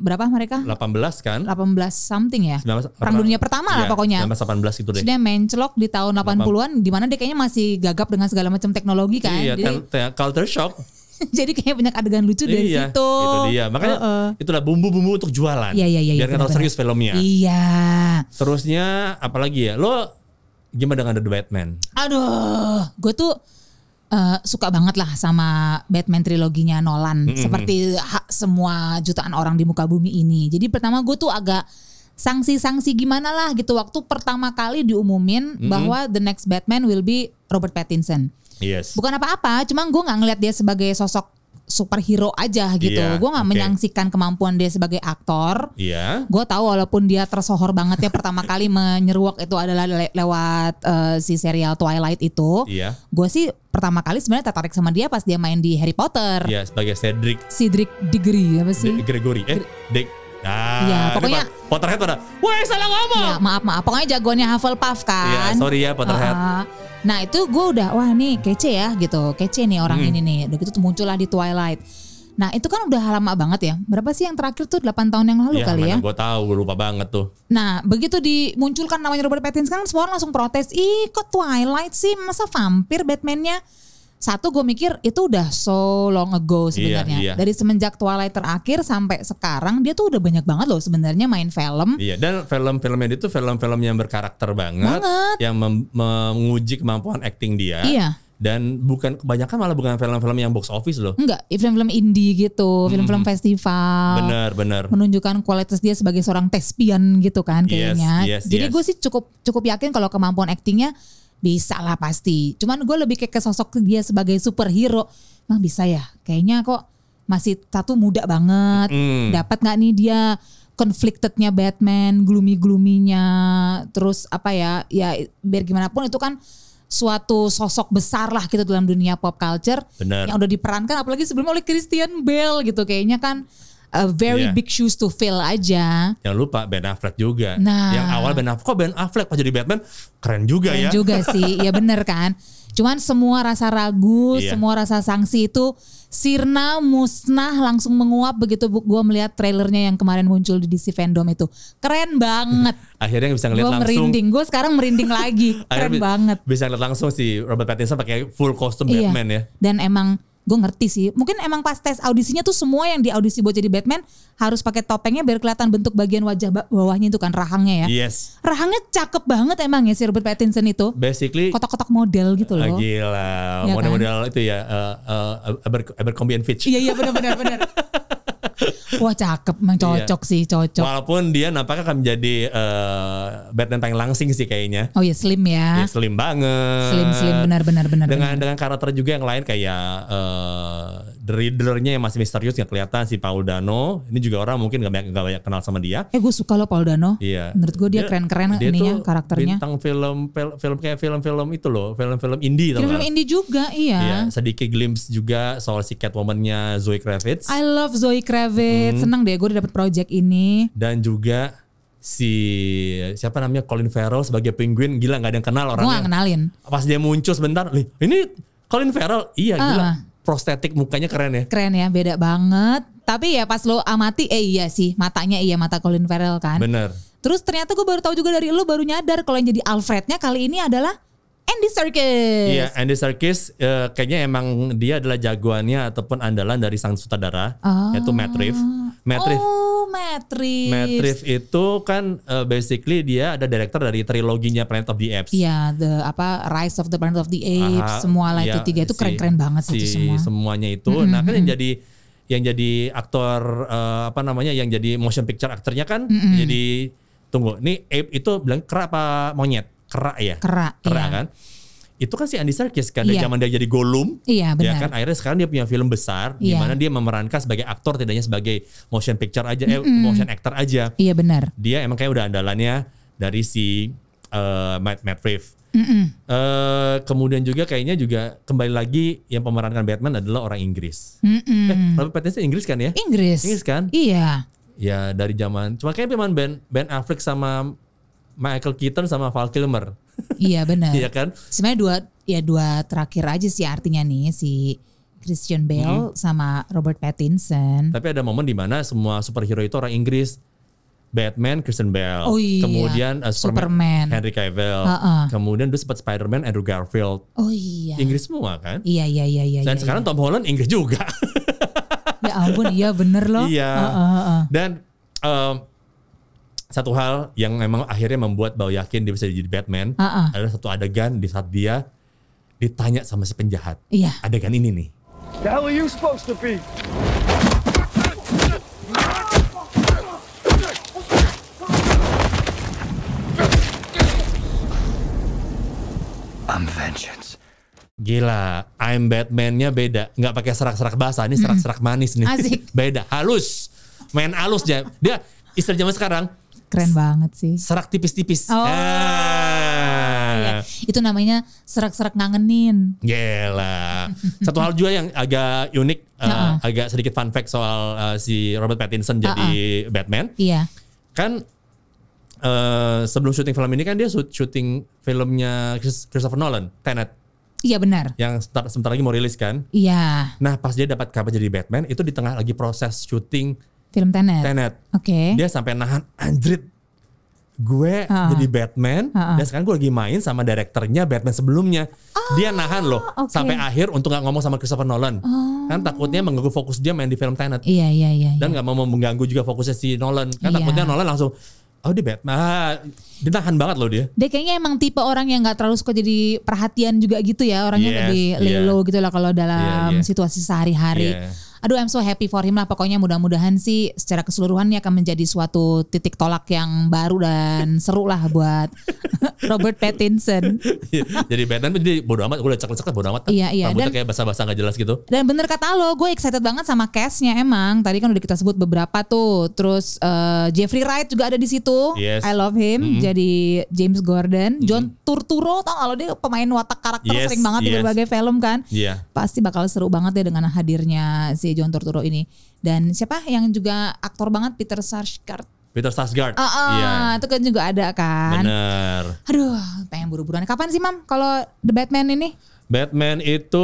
S2: berapa mereka?
S3: 18 kan?
S2: 18 something ya.
S3: 19
S2: Perang dunia pertama lah
S3: Iya,
S2: pokoknya.
S3: 1918 gitu deh.
S2: Sudah mencelok di tahun 80-an di mana dia kayaknya masih gagap dengan segala macam teknologi kan.
S3: Iya,
S2: jadi,
S3: kan, kayak culture shock.
S2: jadi kayaknya banyak adegan lucu dari
S3: iya,
S2: situ.
S3: Itu dia. Makanya
S2: Heeh.
S3: itulah bumbu-bumbu untuk jualan.
S2: Iya, iya, iya, iya,
S3: Biar nggak terlalu
S2: benar-benar.
S3: serius filmnya.
S2: Iya.
S3: Terusnya apalagi ya? Lo gimana dengan The Batman?
S2: Aduh, gue tuh eh, suka banget lah sama Batman triloginya Nolan.
S3: Mm-mm.
S2: Seperti ha- semua jutaan orang di muka bumi ini. Jadi pertama gue tuh agak sanksi-sanksi gimana lah gitu waktu pertama kali diumumin bahwa the next Batman will be Robert Pattinson.
S3: Yes.
S2: Bukan apa-apa, cuma gue nggak ngeliat dia sebagai sosok superhero aja gitu.
S3: Iya,
S2: gue nggak
S3: oke.
S2: menyaksikan kemampuan dia sebagai aktor.
S3: Iya.
S2: Gue tahu walaupun dia tersohor banget ya pertama kali menyeruak itu adalah le- lewat eh, si serial Twilight itu.
S3: Iya.
S2: Gue sih pertama kali sebenarnya tertarik sama dia pas dia main di Harry Potter.
S3: Iya sebagai Cedric
S2: Cedric Diggory apa sih?
S3: De- Gregory eh Dick. Nah,
S2: Iya,
S3: ini
S2: pokoknya-
S3: Pot- Potterhead ada. Woi, salah ngomong.
S2: Iya, maaf maaf. Pokoknya jagoannya Hufflepuff
S3: Iya,
S2: kan.
S3: sorry ya Potterhead.
S2: Heeh. Nah itu gue udah wah nih kece ya gitu kece nih orang
S3: Hmm.
S2: ini nih udah gitu tuh muncullah di Twilight. Nah itu kan udah lama banget ya berapa sih yang terakhir tuh 8 tahun yang lalu
S3: Iya,
S2: kali ya.
S3: mana gue tahu, gue lupa banget tuh.
S2: Nah begitu dimunculkan namanya Robert Pattinson kan semua orang langsung protes ih kok Twilight sih masa vampir Batmannya. Satu gue mikir itu udah so long ago sebenarnya.
S3: Iya, iya.
S2: Dari semenjak Twilight terakhir sampai sekarang dia tuh udah banyak banget loh sebenarnya main film.
S3: Iya, dan film-filmnya dia tuh film-film yang berkarakter banget,
S2: Banget.
S3: yang mem- menguji kemampuan acting dia.
S2: Iya.
S3: Dan bukan kebanyakan malah bukan film-film yang box office loh.
S2: Enggak, film-film indie gitu, film-film festival.
S3: Hmm. Bener, bener.
S2: menunjukkan kualitas dia sebagai seorang thespian gitu kan
S3: Yes,
S2: kayaknya.
S3: yes,
S2: Jadi
S3: yes.
S2: gue sih cukup cukup yakin kalau kemampuan aktingnya bisa lah pasti. Cuman gue lebih kayak ke sosok dia sebagai superhero. Emang bisa ya? Kayaknya kok masih satu muda banget.
S3: Mm.
S2: Dapat nggak nih dia conflictednya Batman, gloomy-gloominya, terus apa ya? Ya biar gimana pun itu kan suatu sosok besar lah gitu dalam dunia pop culture
S3: Bener.
S2: yang udah diperankan apalagi sebelumnya oleh Christian Bale gitu kayaknya kan a very
S3: Iya.
S2: big shoes to fill aja
S3: Jangan lupa Ben Affleck juga.
S2: Nah.
S3: Yang awal Ben Affleck, kok Ben Affleck pas jadi Batman keren juga
S2: Keren
S3: ya.
S2: juga sih ya bener kan cuman semua rasa ragu
S3: Iya.
S2: semua rasa sanksi itu sirna musnah langsung menguap begitu bu- gua melihat trailernya yang kemarin muncul di DC fandom itu keren banget
S3: Akhirnya bisa ngeliat
S2: gue
S3: langsung.
S2: merinding gue sekarang merinding lagi
S3: akhirnya
S2: keren
S3: bi-
S2: banget
S3: Bisa ngeliat langsung si Robert Pattinson pakai full costume
S2: Iya.
S3: Batman ya.
S2: dan emang gue ngerti sih mungkin emang pas tes audisinya tuh semua yang di audisi buat jadi Batman harus pakai topengnya biar kelihatan bentuk bagian wajah ba- bawahnya itu kan rahangnya ya
S3: Yes.
S2: rahangnya cakep banget emang ya si Robert Pattinson itu
S3: Basically
S2: kotak-kotak model gitu
S3: ah,
S2: loh
S3: gila.
S2: Iya kan?
S3: Model-model itu ya eh, eh, Aber- Abercrombie and Fitch.
S2: iya iya benar-benar benar wah cakep emang cocok
S3: Iya.
S2: sih cocok
S3: Walaupun dia nampaknya akan menjadi eh, Batman paling langsing sih kayaknya.
S2: oh iya slim
S3: Dia
S2: ya
S3: slim banget.
S2: slim slim benar-benar benar
S3: dengan dengan karakter juga yang lain kayak eh, The Riddler-nya yang masih misterius nggak kelihatan si Paul Dano ini juga orang mungkin nggak banyak nggak banyak kenal sama dia
S2: eh gue suka loh Paul Dano
S3: iya
S2: menurut gue dia, keren-keren
S3: dia
S2: ininya
S3: tuh
S2: karakternya
S3: bintang film pel- film kayak film-film itu loh film-film indie tau
S2: film-film
S3: nggak?
S2: indie juga
S3: Iya,
S2: iya
S3: sedikit glimpse juga soal si Catwoman-nya Zoe Kravitz Hmm.
S2: I love Zoe Kravitz senang deh gue udah dapet project ini
S3: dan juga si siapa namanya Colin Farrell sebagai penguin gila nggak ada yang kenal
S2: gue gak
S3: orangnya
S2: kenalin
S3: pas dia muncul sebentar "Lih, ini Colin Farrell iya gila
S2: Ah.
S3: prostetik mukanya keren ya
S2: keren ya beda banget tapi ya pas lo amati eh iya sih matanya iya mata Colin Farrell kan
S3: bener
S2: terus ternyata gue baru tahu juga dari lo baru nyadar kalau yang jadi Alfrednya kali ini adalah Andy
S3: Iya,
S2: Serkis
S3: Andy Serkis eh, kayaknya emang dia adalah jagoannya ataupun andalan dari sang sutradara
S2: Ah.
S3: yaitu Matt Reeves. Matt Reeves,
S2: oh Matt Reeves.
S3: Matt Reeves itu kan eh, basically dia ada director dari triloginya Planet of the Apes.
S2: Iya, the apa Rise of the Planet of the Apes,
S3: Aha,
S2: semua lah
S3: iya,
S2: itu tiga itu
S3: si-
S2: keren-keren banget sih itu
S3: si
S2: semua.
S3: semuanya itu. Nah, kan yang jadi yang jadi aktor eh, apa namanya yang jadi motion picture aktornya kan jadi tunggu, nih ape itu bilang kera apa monyet? Kera ya.
S2: Kera, iya.
S3: Kera kan? Itu kan si Andy Serkis kan dari
S2: Iya.
S3: zaman dia jadi Gollum.
S2: Iya, benar.
S3: Ya kan akhirnya sekarang dia punya film besar di
S2: Iya.
S3: mana dia memerankan sebagai aktor tidaknya sebagai motion picture aja eh, motion actor aja.
S2: Iya benar.
S3: Dia emang kayak udah andalannya dari si eh, Matt Matt Reeves. Eh, kemudian juga kayaknya juga kembali lagi yang pemerankan Batman adalah orang Inggris.
S2: Mm-mm.
S3: Eh, Robert Pattinson Inggris kan ya?
S2: Inggris.
S3: Inggris kan?
S2: Iya.
S3: Ya dari zaman cuma kayak zaman Ben Ben Affleck sama Michael Keaton sama Val Kilmer.
S2: Iya benar.
S3: Iya kan?
S2: Sebenarnya dua ya dua terakhir aja sih artinya nih si Christian Bale sama Robert Pattinson.
S3: Tapi ada momen di mana semua superhero itu orang Inggris. Batman, Christian Bale,
S2: Oh iya.
S3: kemudian uh,
S2: Superman.
S3: Superman, Henry Cavill,
S2: Ha-ha.
S3: kemudian dulu sempat Spider-Man, Andrew Garfield,
S2: Oh iya.
S3: Inggris semua kan.
S2: Iya iya iya iya.
S3: Dan
S2: iya,
S3: sekarang Tom Holland Inggris juga.
S2: iya. ya ampun iya bener loh.
S3: Iya.
S2: Heeh, heeh.
S3: Dan em, satu hal yang memang akhirnya membuat Bao yakin dia bisa jadi Batman
S2: Ah, ah.
S3: adalah satu adegan di saat dia ditanya sama si penjahat.
S2: Iya.
S3: Adegan ini nih.
S4: The hell are you supposed to be? I'm vengeance.
S3: Gila, I'm Batman-nya beda. Nggak pakai serak-serak basah, ini serak-serak manis nih.
S2: Hmm. Asik.
S3: beda, halus. Main halus dia. Dia istilah zaman sekarang
S2: Keren banget sih.
S3: serak tipis-tipis.
S2: Oh, Iya.
S3: Ah.
S2: Itu namanya serak-serak ngangenin.
S3: Gila. Satu hal juga yang agak unik, uh,
S2: Nah,
S3: agak sedikit fun fact soal uh, si Robert Pattinson jadi Batman.
S2: Iya.
S3: Kan uh, sebelum syuting film ini kan dia shoot- syuting filmnya Chris- Christopher Nolan, Tenet,
S2: Iya benar.
S3: yang sebentar, sebentar lagi mau rilis kan.
S2: Iya.
S3: Nah pas dia dapat kabar jadi Batman, itu di tengah lagi proses syuting
S2: Film Tenet.
S3: Tenet.
S2: Oke.
S3: Dia sampai nahan, anjrit gue
S2: Ah.
S3: jadi Batman
S2: Ah.
S3: dan sekarang gue lagi main sama direkturnya Batman sebelumnya dia nahan loh
S2: Oh, oke. Oh.
S3: sampai akhir untuk nggak ngomong sama Christopher Nolan kan takutnya mengganggu fokus dia main di film Tenet
S2: Iya iya iya.
S3: dan
S2: iya.
S3: nggak mau mengganggu juga fokusnya si Nolan kan
S2: Iya.
S3: takutnya Nolan langsung oh dia Batman Ah, dia nahan banget loh dia
S2: Dia kayaknya emang tipe orang yang nggak terlalu suka jadi perhatian juga gitu ya orangnya
S3: Yes,
S2: lebih
S3: iya.
S2: lay low gitu lah kalau dalam
S3: Iya, iya.
S2: situasi sehari-hari.
S3: Iya.
S2: Aduh, I'm so happy for him lah. Pokoknya mudah-mudahan sih secara keseluruhan ini akan menjadi suatu titik tolak yang baru dan seru lah buat Robert Pattinson.
S3: jadi Batman jadi bodo amat gue udah ceklet ceklet bodo amat
S2: Iya, iya.
S3: rambutnya
S2: Dan-
S3: kayak basah-basah nggak jelas gitu
S2: Dan bener kata lo, gue excited banget sama cast-nya emang. Tadi kan udah kita sebut beberapa tuh. Terus eh, Jeffrey Wright juga ada di situ.
S3: Yes. Mm-hmm.
S2: I love him. Jadi James Gordon, John Turturro tau gak lo dia pemain watak karakter
S3: Yes,
S2: sering banget di
S3: yes.
S2: berbagai film kan.
S3: iya
S2: Pasti bakal seru banget ya dengan hadirnya si John Turturro ini. Dan siapa yang juga aktor banget Peter Sarsgaard.
S3: Peter Sarsgaard
S2: Ah, ah,
S3: iya
S2: itu kan juga ada kan.
S3: bener
S2: Aduh, pengen buru-buruan. Kapan sih Mam kalau The Batman ini?
S3: Batman itu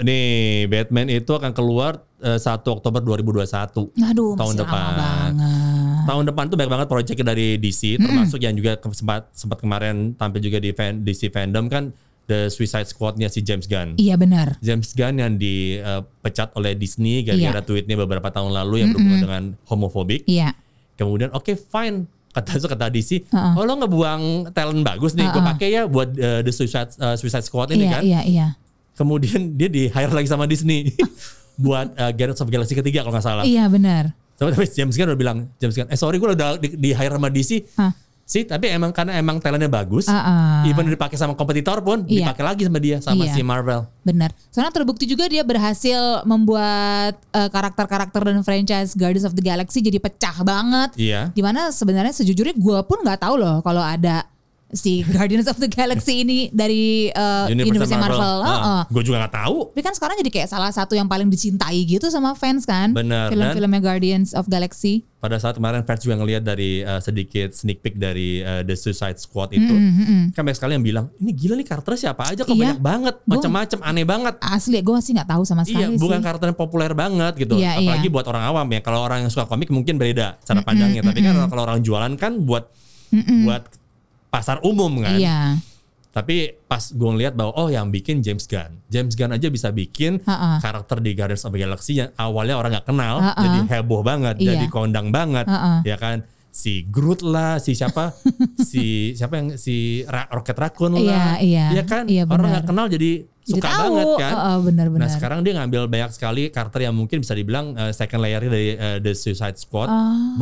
S3: nih Batman itu akan keluar eh, 1 Oktober 2021
S2: Aduh,
S3: tahun
S2: masih
S3: depan.
S2: lama banget. Hmm.
S3: Tahun depan tuh banyak banget proyeknya dari DC termasuk yang juga ke- sempat sempat kemarin tampil juga di fan- DC fandom kan The Suicide Squad-nya si James Gunn.
S2: Iya benar.
S3: James Gunn yang dipecat oleh Disney gara-gara
S2: Iya. Hmm,
S3: tweetnya beberapa tahun lalu yang berhubungan dengan homofobik.
S2: Iya.
S3: Kemudian oke fine kata kata DC, oh lo ngebuang talent bagus nih, gue
S2: Uh-uh.
S3: pakai ya buat eh, The Suicide eh, Suicide Squad ini
S2: iya,
S3: kan.
S2: Iya, iya.
S3: Kemudian dia di hire lagi sama Disney buat eh, Guardians of Galaxy ketiga kalau nggak salah.
S2: Iya, benar.
S3: Tapi tapi James Gunn udah bilang, James Gunn, eh sorry gue udah di, di hire sama DC.
S2: Hah.
S3: Sih, tapi emang karena emang talentnya bagus,
S2: Ah, ah.
S3: even dipakai sama kompetitor pun
S2: Iya.
S3: dipakai lagi sama dia sama
S2: Iya.
S3: si Marvel.
S2: Benar. Soalnya terbukti juga dia berhasil membuat eh, karakter-karakter dan franchise Guardians of the Galaxy jadi pecah banget.
S3: Iya.
S2: Dimana sebenarnya sejujurnya gue pun nggak tahu loh kalau ada si Guardians of the Galaxy ini dari eh, universe Marvel. ah, Heeh.
S3: Gue Ah, juga nggak tahu.
S2: Tapi kan sekarang jadi kayak salah satu yang paling dicintai gitu sama fans kan.
S3: Benar,
S2: Film-filmnya Guardians of Galaxy.
S3: Pada saat kemarin fans juga ngelihat dari eh, sedikit sneak peek dari eh, The Suicide Squad itu, kan banyak sekali yang bilang, ini gila nih karakternya siapa aja kok
S2: Mm-hmm, Iya.
S3: banyak banget,
S2: Gua-
S3: macam-macam, aneh banget.
S2: Asli gue sih nggak tahu sama sekali
S3: Iya, bukan
S2: sih.
S3: karakter yang populer banget gitu.
S2: Iya,
S3: Apalagi
S2: iya.
S3: buat orang awam ya. Kalau orang yang suka komik mungkin beda cara pandangnya. Tapi kan kalau orang jualan kan buat buat pasar umum kan.
S2: Iya.
S3: Tapi pas gue ngeliat bahwa oh yang bikin James Gunn, James Gunn aja bisa bikin
S2: Ha-ha.
S3: karakter di Guardians of the Galaxy yang awalnya orang nggak kenal,
S2: Ha-ha.
S3: jadi heboh banget,
S2: Iya.
S3: jadi kondang banget,
S2: Ha-ha.
S3: ya kan? Si Groot lah, si siapa, si siapa yang si Ra- Rocket Raccoon lah,
S2: Iya, iya.
S3: ya kan?
S2: Iya,
S3: orang
S2: benar.
S3: nggak kenal jadi
S2: Jadi
S3: suka
S2: tahu.
S3: banget kan?
S2: Heeh, benar-benar.
S3: Nah sekarang dia ngambil banyak sekali karakter yang mungkin bisa dibilang eh, second layer dari eh, The Suicide Squad,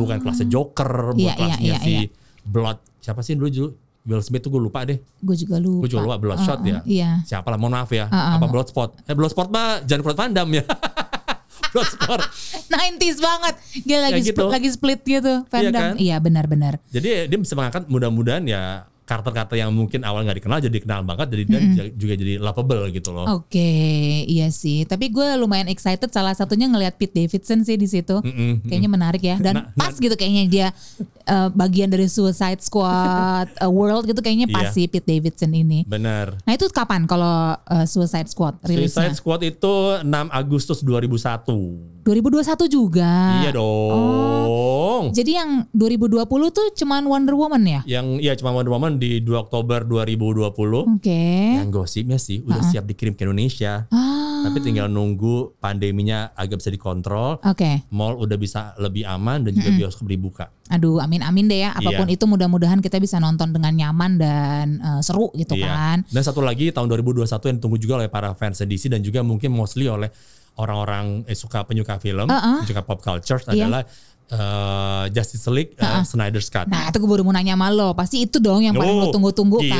S3: bukan kelasnya Joker, bukan
S2: Oh. Iya, iya,
S3: kelasnya
S2: iya,
S3: si
S2: iya.
S3: Blood, siapa sih dulu dulu Will Smith tuh gue lupa deh,
S2: Gue juga lupa.
S3: gue juga lupa Bloodshot
S2: Heeh,
S3: ya,
S2: Iya.
S3: siapa lah, mohon maaf ya,
S2: Ah, ah.
S3: apa Bloodspot? Eh Bloodspot mah jangan Claude Van Damme ya, Bloodsport.
S2: 90s Eh, banget. Dia lagi
S3: gitu.
S2: split, lagi split gitu fandom. Iya,
S3: kan?
S2: benar-benar.
S3: Jadi dia bisa mengangkat mudah-mudahan ya karakter-karakter yang mungkin awal nggak dikenal jadi dikenal banget jadi dan j- juga jadi lovable gitu loh.
S2: Oke, iya sih. Tapi gue lumayan excited. Salah satunya ngelihat Pete Davidson sih di situ.
S3: Mm-mm,
S2: Kayaknya menarik ya. Dan
S3: Nah,
S2: pas gitu kayaknya dia eh, bagian dari Suicide Squad eh, World gitu kayaknya pas
S3: Iya.
S2: sih Pete Davidson ini.
S3: Bener.
S2: Nah itu kapan kalau eh, Suicide Squad rilisnya?
S3: Suicide Squad itu 6 Agustus 2001.
S2: 2021 juga.
S3: iya dong.
S2: Jadi yang 2020 tuh cuman Wonder Woman ya?
S3: Yang ya cuma Wonder Woman di 2 Oktober 2020.
S2: Oke.
S3: Yang gosipnya sih udah siap dikirim ke Indonesia.
S2: Ah,
S3: Tapi tinggal nunggu pandeminya agak bisa dikontrol.
S2: Oke,
S3: Mall udah bisa lebih aman dan
S2: Hmm.
S3: juga bioskop dibuka.
S2: aduh amin-amin deh ya. Apapun
S3: Iya.
S2: itu mudah-mudahan kita bisa nonton dengan nyaman dan eh, seru gitu
S3: Iya.
S2: kan.
S3: Dan satu lagi tahun 2021 yang ditunggu juga oleh para fans DC dan juga mungkin mostly oleh orang-orang eh, suka penyuka film,
S2: Uh-uh.
S3: penyuka pop culture
S2: Iya.
S3: adalah eh, Justice League eh, Snyder's Cut.
S2: Nah itu gue baru mau nanya sama lo, pasti itu dong yang paling lo
S3: Oh,
S2: tunggu-tunggu
S3: gila.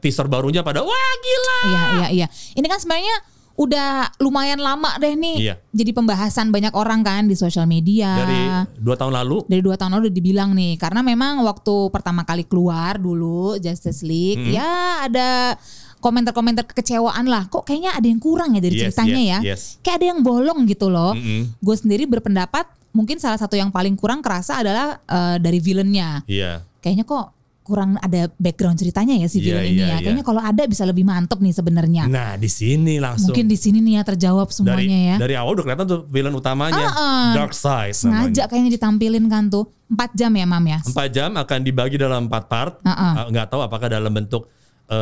S2: kan.
S3: teaser barunya pada wah gila.
S2: Iya, iya, iya. Ini kan sebenarnya udah lumayan lama deh nih.
S3: Iya.
S2: Jadi pembahasan banyak orang kan di sosial media.
S3: Dari dua tahun lalu
S2: dari dua tahun lalu udah dibilang nih karena memang waktu pertama kali keluar dulu Justice League
S3: Hmm.
S2: ya ada komentar-komentar kekecewaan lah kok kayaknya ada yang kurang ya dari
S3: Yes,
S2: ceritanya
S3: yes,
S2: ya
S3: yes.
S2: kayak ada yang bolong gitu loh
S3: Mm-mm.
S2: gue sendiri berpendapat mungkin salah satu yang paling kurang kerasa adalah eh, dari villainnya
S3: Iya.
S2: kayaknya kok kurang ada background ceritanya ya si
S3: Iya,
S2: villain ini
S3: iya,
S2: ya
S3: iya.
S2: kayaknya kalau ada bisa lebih mantep nih sebenarnya
S3: Nah, di sini langsung
S2: mungkin di sini nih ya terjawab
S3: dari
S2: semuanya ya
S3: dari awal udah kelihatan tuh villain utamanya
S2: Ah, ah.
S3: Dark Side
S2: sengaja kayaknya ditampilin kan tuh 4 jam ya mam ya
S3: 4 jam akan dibagi dalam 4 part.
S2: Heeh.
S3: Eh, Nggak tahu apakah dalam bentuk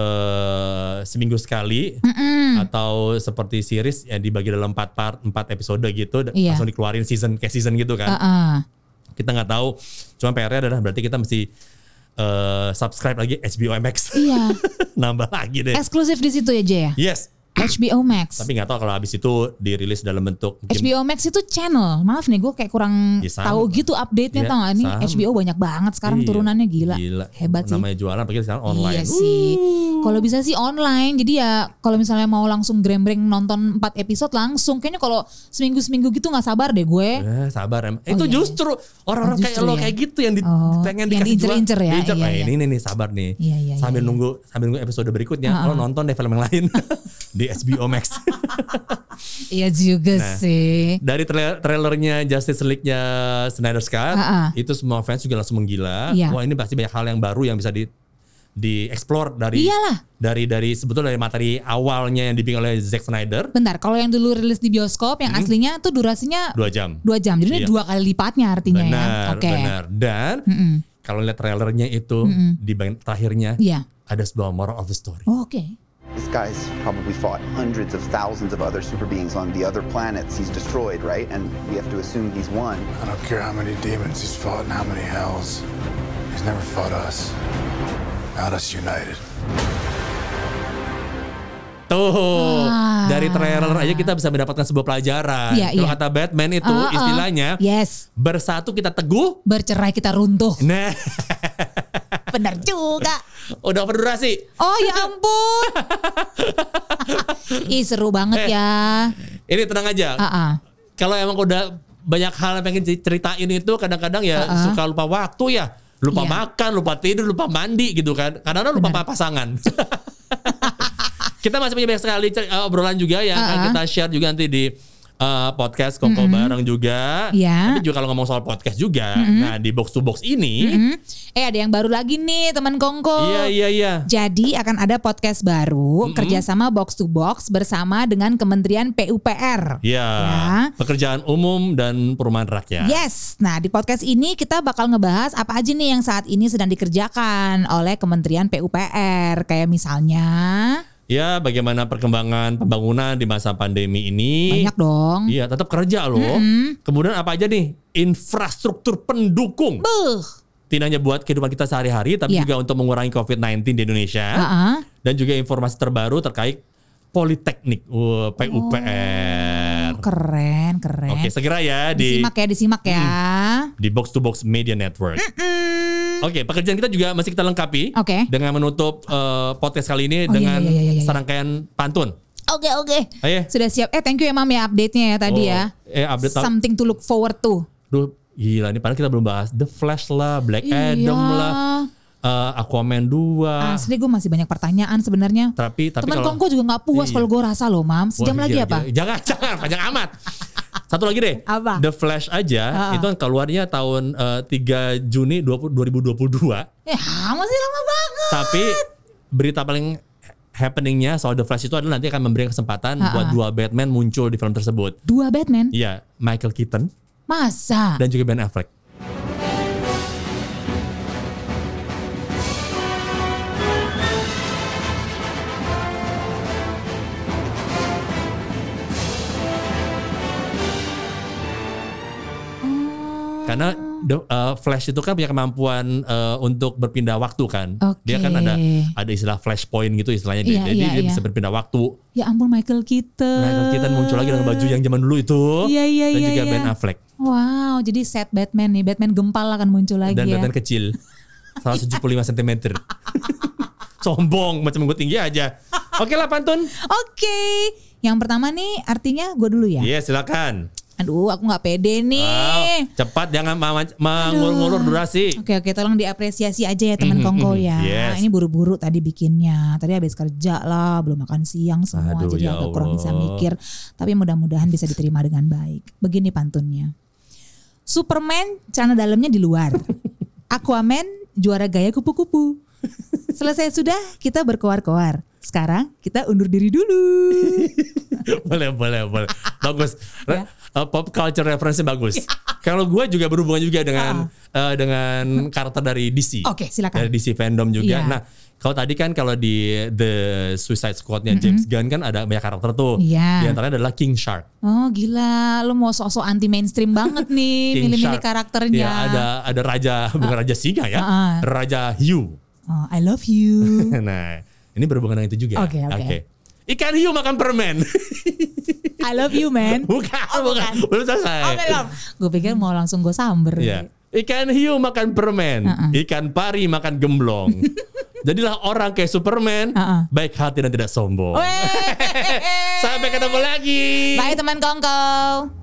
S3: eh seminggu sekali atau seperti series yang dibagi dalam 4 part, 4 episode gitu dan
S2: Iya.
S3: langsung dikeluarin season kayak season gitu kan.
S2: Heeh.
S3: Kita nggak tahu. Cuma PR-nya adalah berarti kita mesti eh subscribe lagi HBO Max.
S2: iya
S3: Nambah lagi deh.
S2: eksklusif di situ aja ya
S3: yes.
S2: HBO Max
S3: Eh. Iya. Tapi nggak tahu kalau habis itu dirilis dalam bentuk mungkin-
S2: HBO Max itu channel maaf nih gue kayak kurang
S3: Ya, sama.
S2: tahu gitu update nya
S3: Ya,
S2: tau gak nih
S3: sama.
S2: HBO banyak banget sekarang
S3: Iya,
S2: turunannya gila, hebat sih
S3: Namanya jualan apalagi sekarang
S2: Iya
S3: online.
S2: sih. Kalau bisa sih online. Jadi ya kalau misalnya mau langsung grembreng nonton 4 episode langsung kayaknya kalau seminggu-seminggu gitu nggak sabar deh gue.
S3: Eh, sabar em. itu
S2: iya,
S3: justru orang-orang
S2: Oh,
S3: kayak
S2: justru
S3: lo
S2: ya.
S3: kayak gitu yang di,
S2: Oh,
S3: pengen
S2: yang
S3: dikasih jual.
S2: diincer-incer ya,
S3: Diincer.
S2: iya,
S3: Eh,
S2: iya.
S3: ini nih nih sabar nih.
S2: Iya, iya,
S3: sambil
S2: iya, Ah,
S3: nunggu sambil nunggu episode berikutnya lo nonton deh film yang lain di HBO Max.
S2: Iya juga
S3: Nah.
S2: sih.
S3: Dari trailer trailernya Justice League-nya Snyder Scott
S2: Ah, ah.
S3: itu semua fans juga langsung menggila.
S2: Iya.
S3: Wah, ini pasti banyak hal yang baru yang bisa di dieksplor dari
S2: Iyalah.
S3: dari dari sebetulnya dari materi awalnya yang dibikin oleh Zack Snyder
S2: Bentar, kalau yang dulu rilis di bioskop yang aslinya tuh durasinya
S3: Hmm. dua jam.
S2: dua jam. Jadi ini
S3: Iya.
S2: dua kali lipatnya artinya ya.
S3: Benar,
S2: Oke.
S3: benar. Dan
S2: Mm-mm.
S3: kalau lihat trailernya itu di bagian terakhirnya
S2: Iya.
S3: ada sebuah moral of the story.
S2: Oh, Oke.
S5: This guy's probably fought hundreds of thousands of other super beings on the other planets he's destroyed, right? And we have to assume he's won.
S6: I don't care how many demons he's fought and how many hells. He's never fought us. Not us united.
S3: Tuh,
S2: Ah.
S3: dari trailer aja kita bisa mendapatkan sebuah pelajaran.
S2: Iya,
S3: Kalau
S2: iya.
S3: kata Batman itu
S2: Ah, ah.
S3: istilahnya
S2: Yes.
S3: bersatu kita teguh.
S2: Bercerai kita runtuh.
S3: Nah,
S2: Benar juga.
S3: udah over durasi.
S2: Oh ya ampun. Ih seru
S3: Eh.
S2: banget ya.
S3: Ini tenang aja.
S2: Ah, ah.
S3: Kalau emang udah banyak hal yang pengen diceritain itu kadang-kadang
S2: Ah,
S3: ya
S2: ah.
S3: suka lupa waktu ya. Lupa
S2: Iya.
S3: makan, lupa tidur, lupa mandi gitu kan. Kadang-kadang lupa pa- pasangan. kita masih punya banyak sekali cer- eh, obrolan juga yang akan
S2: Ah, ah.
S3: kita share juga nanti di eh, podcast Kongko bareng juga.
S2: Mm-hmm. Iya. Mm-hmm.
S3: Tapi juga kalau ngomong soal podcast juga. Nah, di box to box ini
S2: Hmm. Eh ada yang baru lagi nih teman Kongko.
S3: Iya, iya, iya.
S2: Jadi akan ada podcast baru kerjasama Box to Box bersama dengan Kementerian PUPR.
S3: Iya.
S2: Ya.
S3: Pekerjaan umum dan perumahan rakyat.
S2: Yes, nah di podcast ini kita bakal ngebahas apa aja nih yang saat ini sedang dikerjakan oleh Kementerian PUPR. Kayak misalnya
S3: Ya, bagaimana perkembangan pembangunan di masa pandemi ini?
S2: banyak dong.
S3: Iya, tetap kerja loh. Kemudian apa aja nih? Infrastruktur pendukung.
S2: Beuh.
S3: Tidak hanya buat kehidupan kita sehari-hari, tapi
S2: Iya.
S3: juga untuk mengurangi COVID-19 di Indonesia.
S2: Ah, ah.
S3: Dan juga informasi terbaru terkait Politeknik uh, Wah, PUPR.
S2: Keren, keren.
S3: Oke, segera ya di
S2: Oh, disimak ya, disimak ya.
S3: di Box to Box Media Network. Oke, pekerjaan kita juga masih kita lengkapi
S2: Oke.
S3: dengan menutup eh, podcast kali
S2: Oh,
S3: ini
S2: iya,
S3: dengan
S2: iya, iya, iya, iya.
S3: serangkaian pantun.
S2: Oke, oke.
S3: Ayo.
S2: Sudah siap. Eh, thank you ya Mam ya update-nya ya tadi
S3: Oh,
S2: ya.
S3: eh, update tahun-
S2: Something to look forward to.
S3: Duh, gila nih padahal kita belum bahas The Flash Eh, lah, Black Adam
S2: Iya.
S3: lah. eh, Aquaman 2.
S2: Asli gue masih banyak pertanyaan sebenarnya.
S3: Tapi
S2: Ah,
S3: tapi
S2: Teman
S3: kalau-
S2: kongko juga nggak puas
S3: Iya.
S2: kalau gue rasa loh, Mam. Sejam
S3: Wah, iya,
S2: lagi
S3: gila,
S2: apa?
S3: gila. Jangan, jangan, panjang amat. Satu lagi deh.
S2: Apa? Ah.
S3: The Flash aja
S2: Ha-ha.
S3: itu kan keluarnya tahun eh, 3 Juni 20, 2022,
S2: Eh, ah, masih lama banget.
S3: tapi berita paling happeningnya soal The Flash itu adalah nanti akan memberikan kesempatan
S2: Ha-ha.
S3: buat dua Batman muncul di film tersebut.
S2: Dua Batman.
S3: Iya, Michael Keaton
S2: Masa?
S3: dan juga Ben Affleck. Karena The- uh, Flash itu kan punya kemampuan uh, untuk berpindah waktu kan.
S2: Oke.
S3: Dia kan ada ada istilah flashpoint gitu istilahnya.
S2: Iya,
S3: Jadi
S2: iya,
S3: dia
S2: iya.
S3: bisa berpindah waktu.
S2: Ya ampun Michael Keaton.
S3: Michael Keaton muncul lagi dengan baju yang zaman dulu itu.
S2: Iya, iya,
S3: dan
S2: iya,
S3: juga
S2: iya.
S3: Ben Affleck.
S2: Wow, jadi set Batman nih. Batman gempal akan muncul lagi
S3: Dan
S2: ya.
S3: Batman kecil. 175 cm. Sombong macam gue tinggi aja. Oke lah pantun.
S2: Oke, yang pertama nih artinya gue dulu ya.
S3: Iya silakan.
S2: Aduh, aku nggak pede nih.
S3: Wow, cepat jangan ma- mengulur durasi.
S2: Oke oke, tolong diapresiasi aja ya teman Kongko ya.
S3: Mhm, Yes.
S2: Ini buru-buru tadi bikinnya. Tadi habis kerja lah, belum makan siang semua,
S3: Aduh,
S2: jadi
S3: ya
S2: agak kurang bisa
S3: Allah.
S2: mikir. Tapi mudah-mudahan bisa diterima dengan baik. Begini pantunnya. Superman celana dalamnya di luar. Aquaman juara gaya kupu-kupu. Selesai sudah, kita berkoar-koar. Sekarang kita undur diri dulu.
S3: boleh boleh boleh bagus
S2: Ya.
S3: Re- uh, pop culture referensi bagus kalau gue juga berhubungan juga dengan uh, dengan karakter dari DC
S2: Ah. Oke, silakan.
S3: dari DC fandom juga
S2: Iya.
S3: nah kalau tadi kan kalau di The Suicide Squad-nya James Gunn kan ada banyak karakter tuh
S2: Iya.
S3: di antaranya adalah King Shark
S2: Oh gila, lu mau sok-sok anti mainstream banget nih,
S3: King
S2: milih-milih
S3: Shark.
S2: karakternya.
S3: Iya, ada ada raja bukan raja singa ya
S2: Ah, ah.
S3: raja hiu
S2: Oh, I love you.
S3: nah ini berhubungan dengan itu juga
S2: Oke,
S3: ya?
S2: oke.
S3: ikan hiu makan permen
S2: I love you man.
S3: bukan, bukan belum selesai
S2: Oh, belum. Gue pikir mau langsung gue samber.
S3: Iya. Ikan hiu makan permen,
S2: Ah,
S3: ikan pari makan gemblong. Jadilah orang kayak Superman,
S2: Uh-uh.
S3: baik hati dan tidak sombong.
S2: Weh.
S3: Sampai ketemu lagi.
S2: Bye teman kongkow.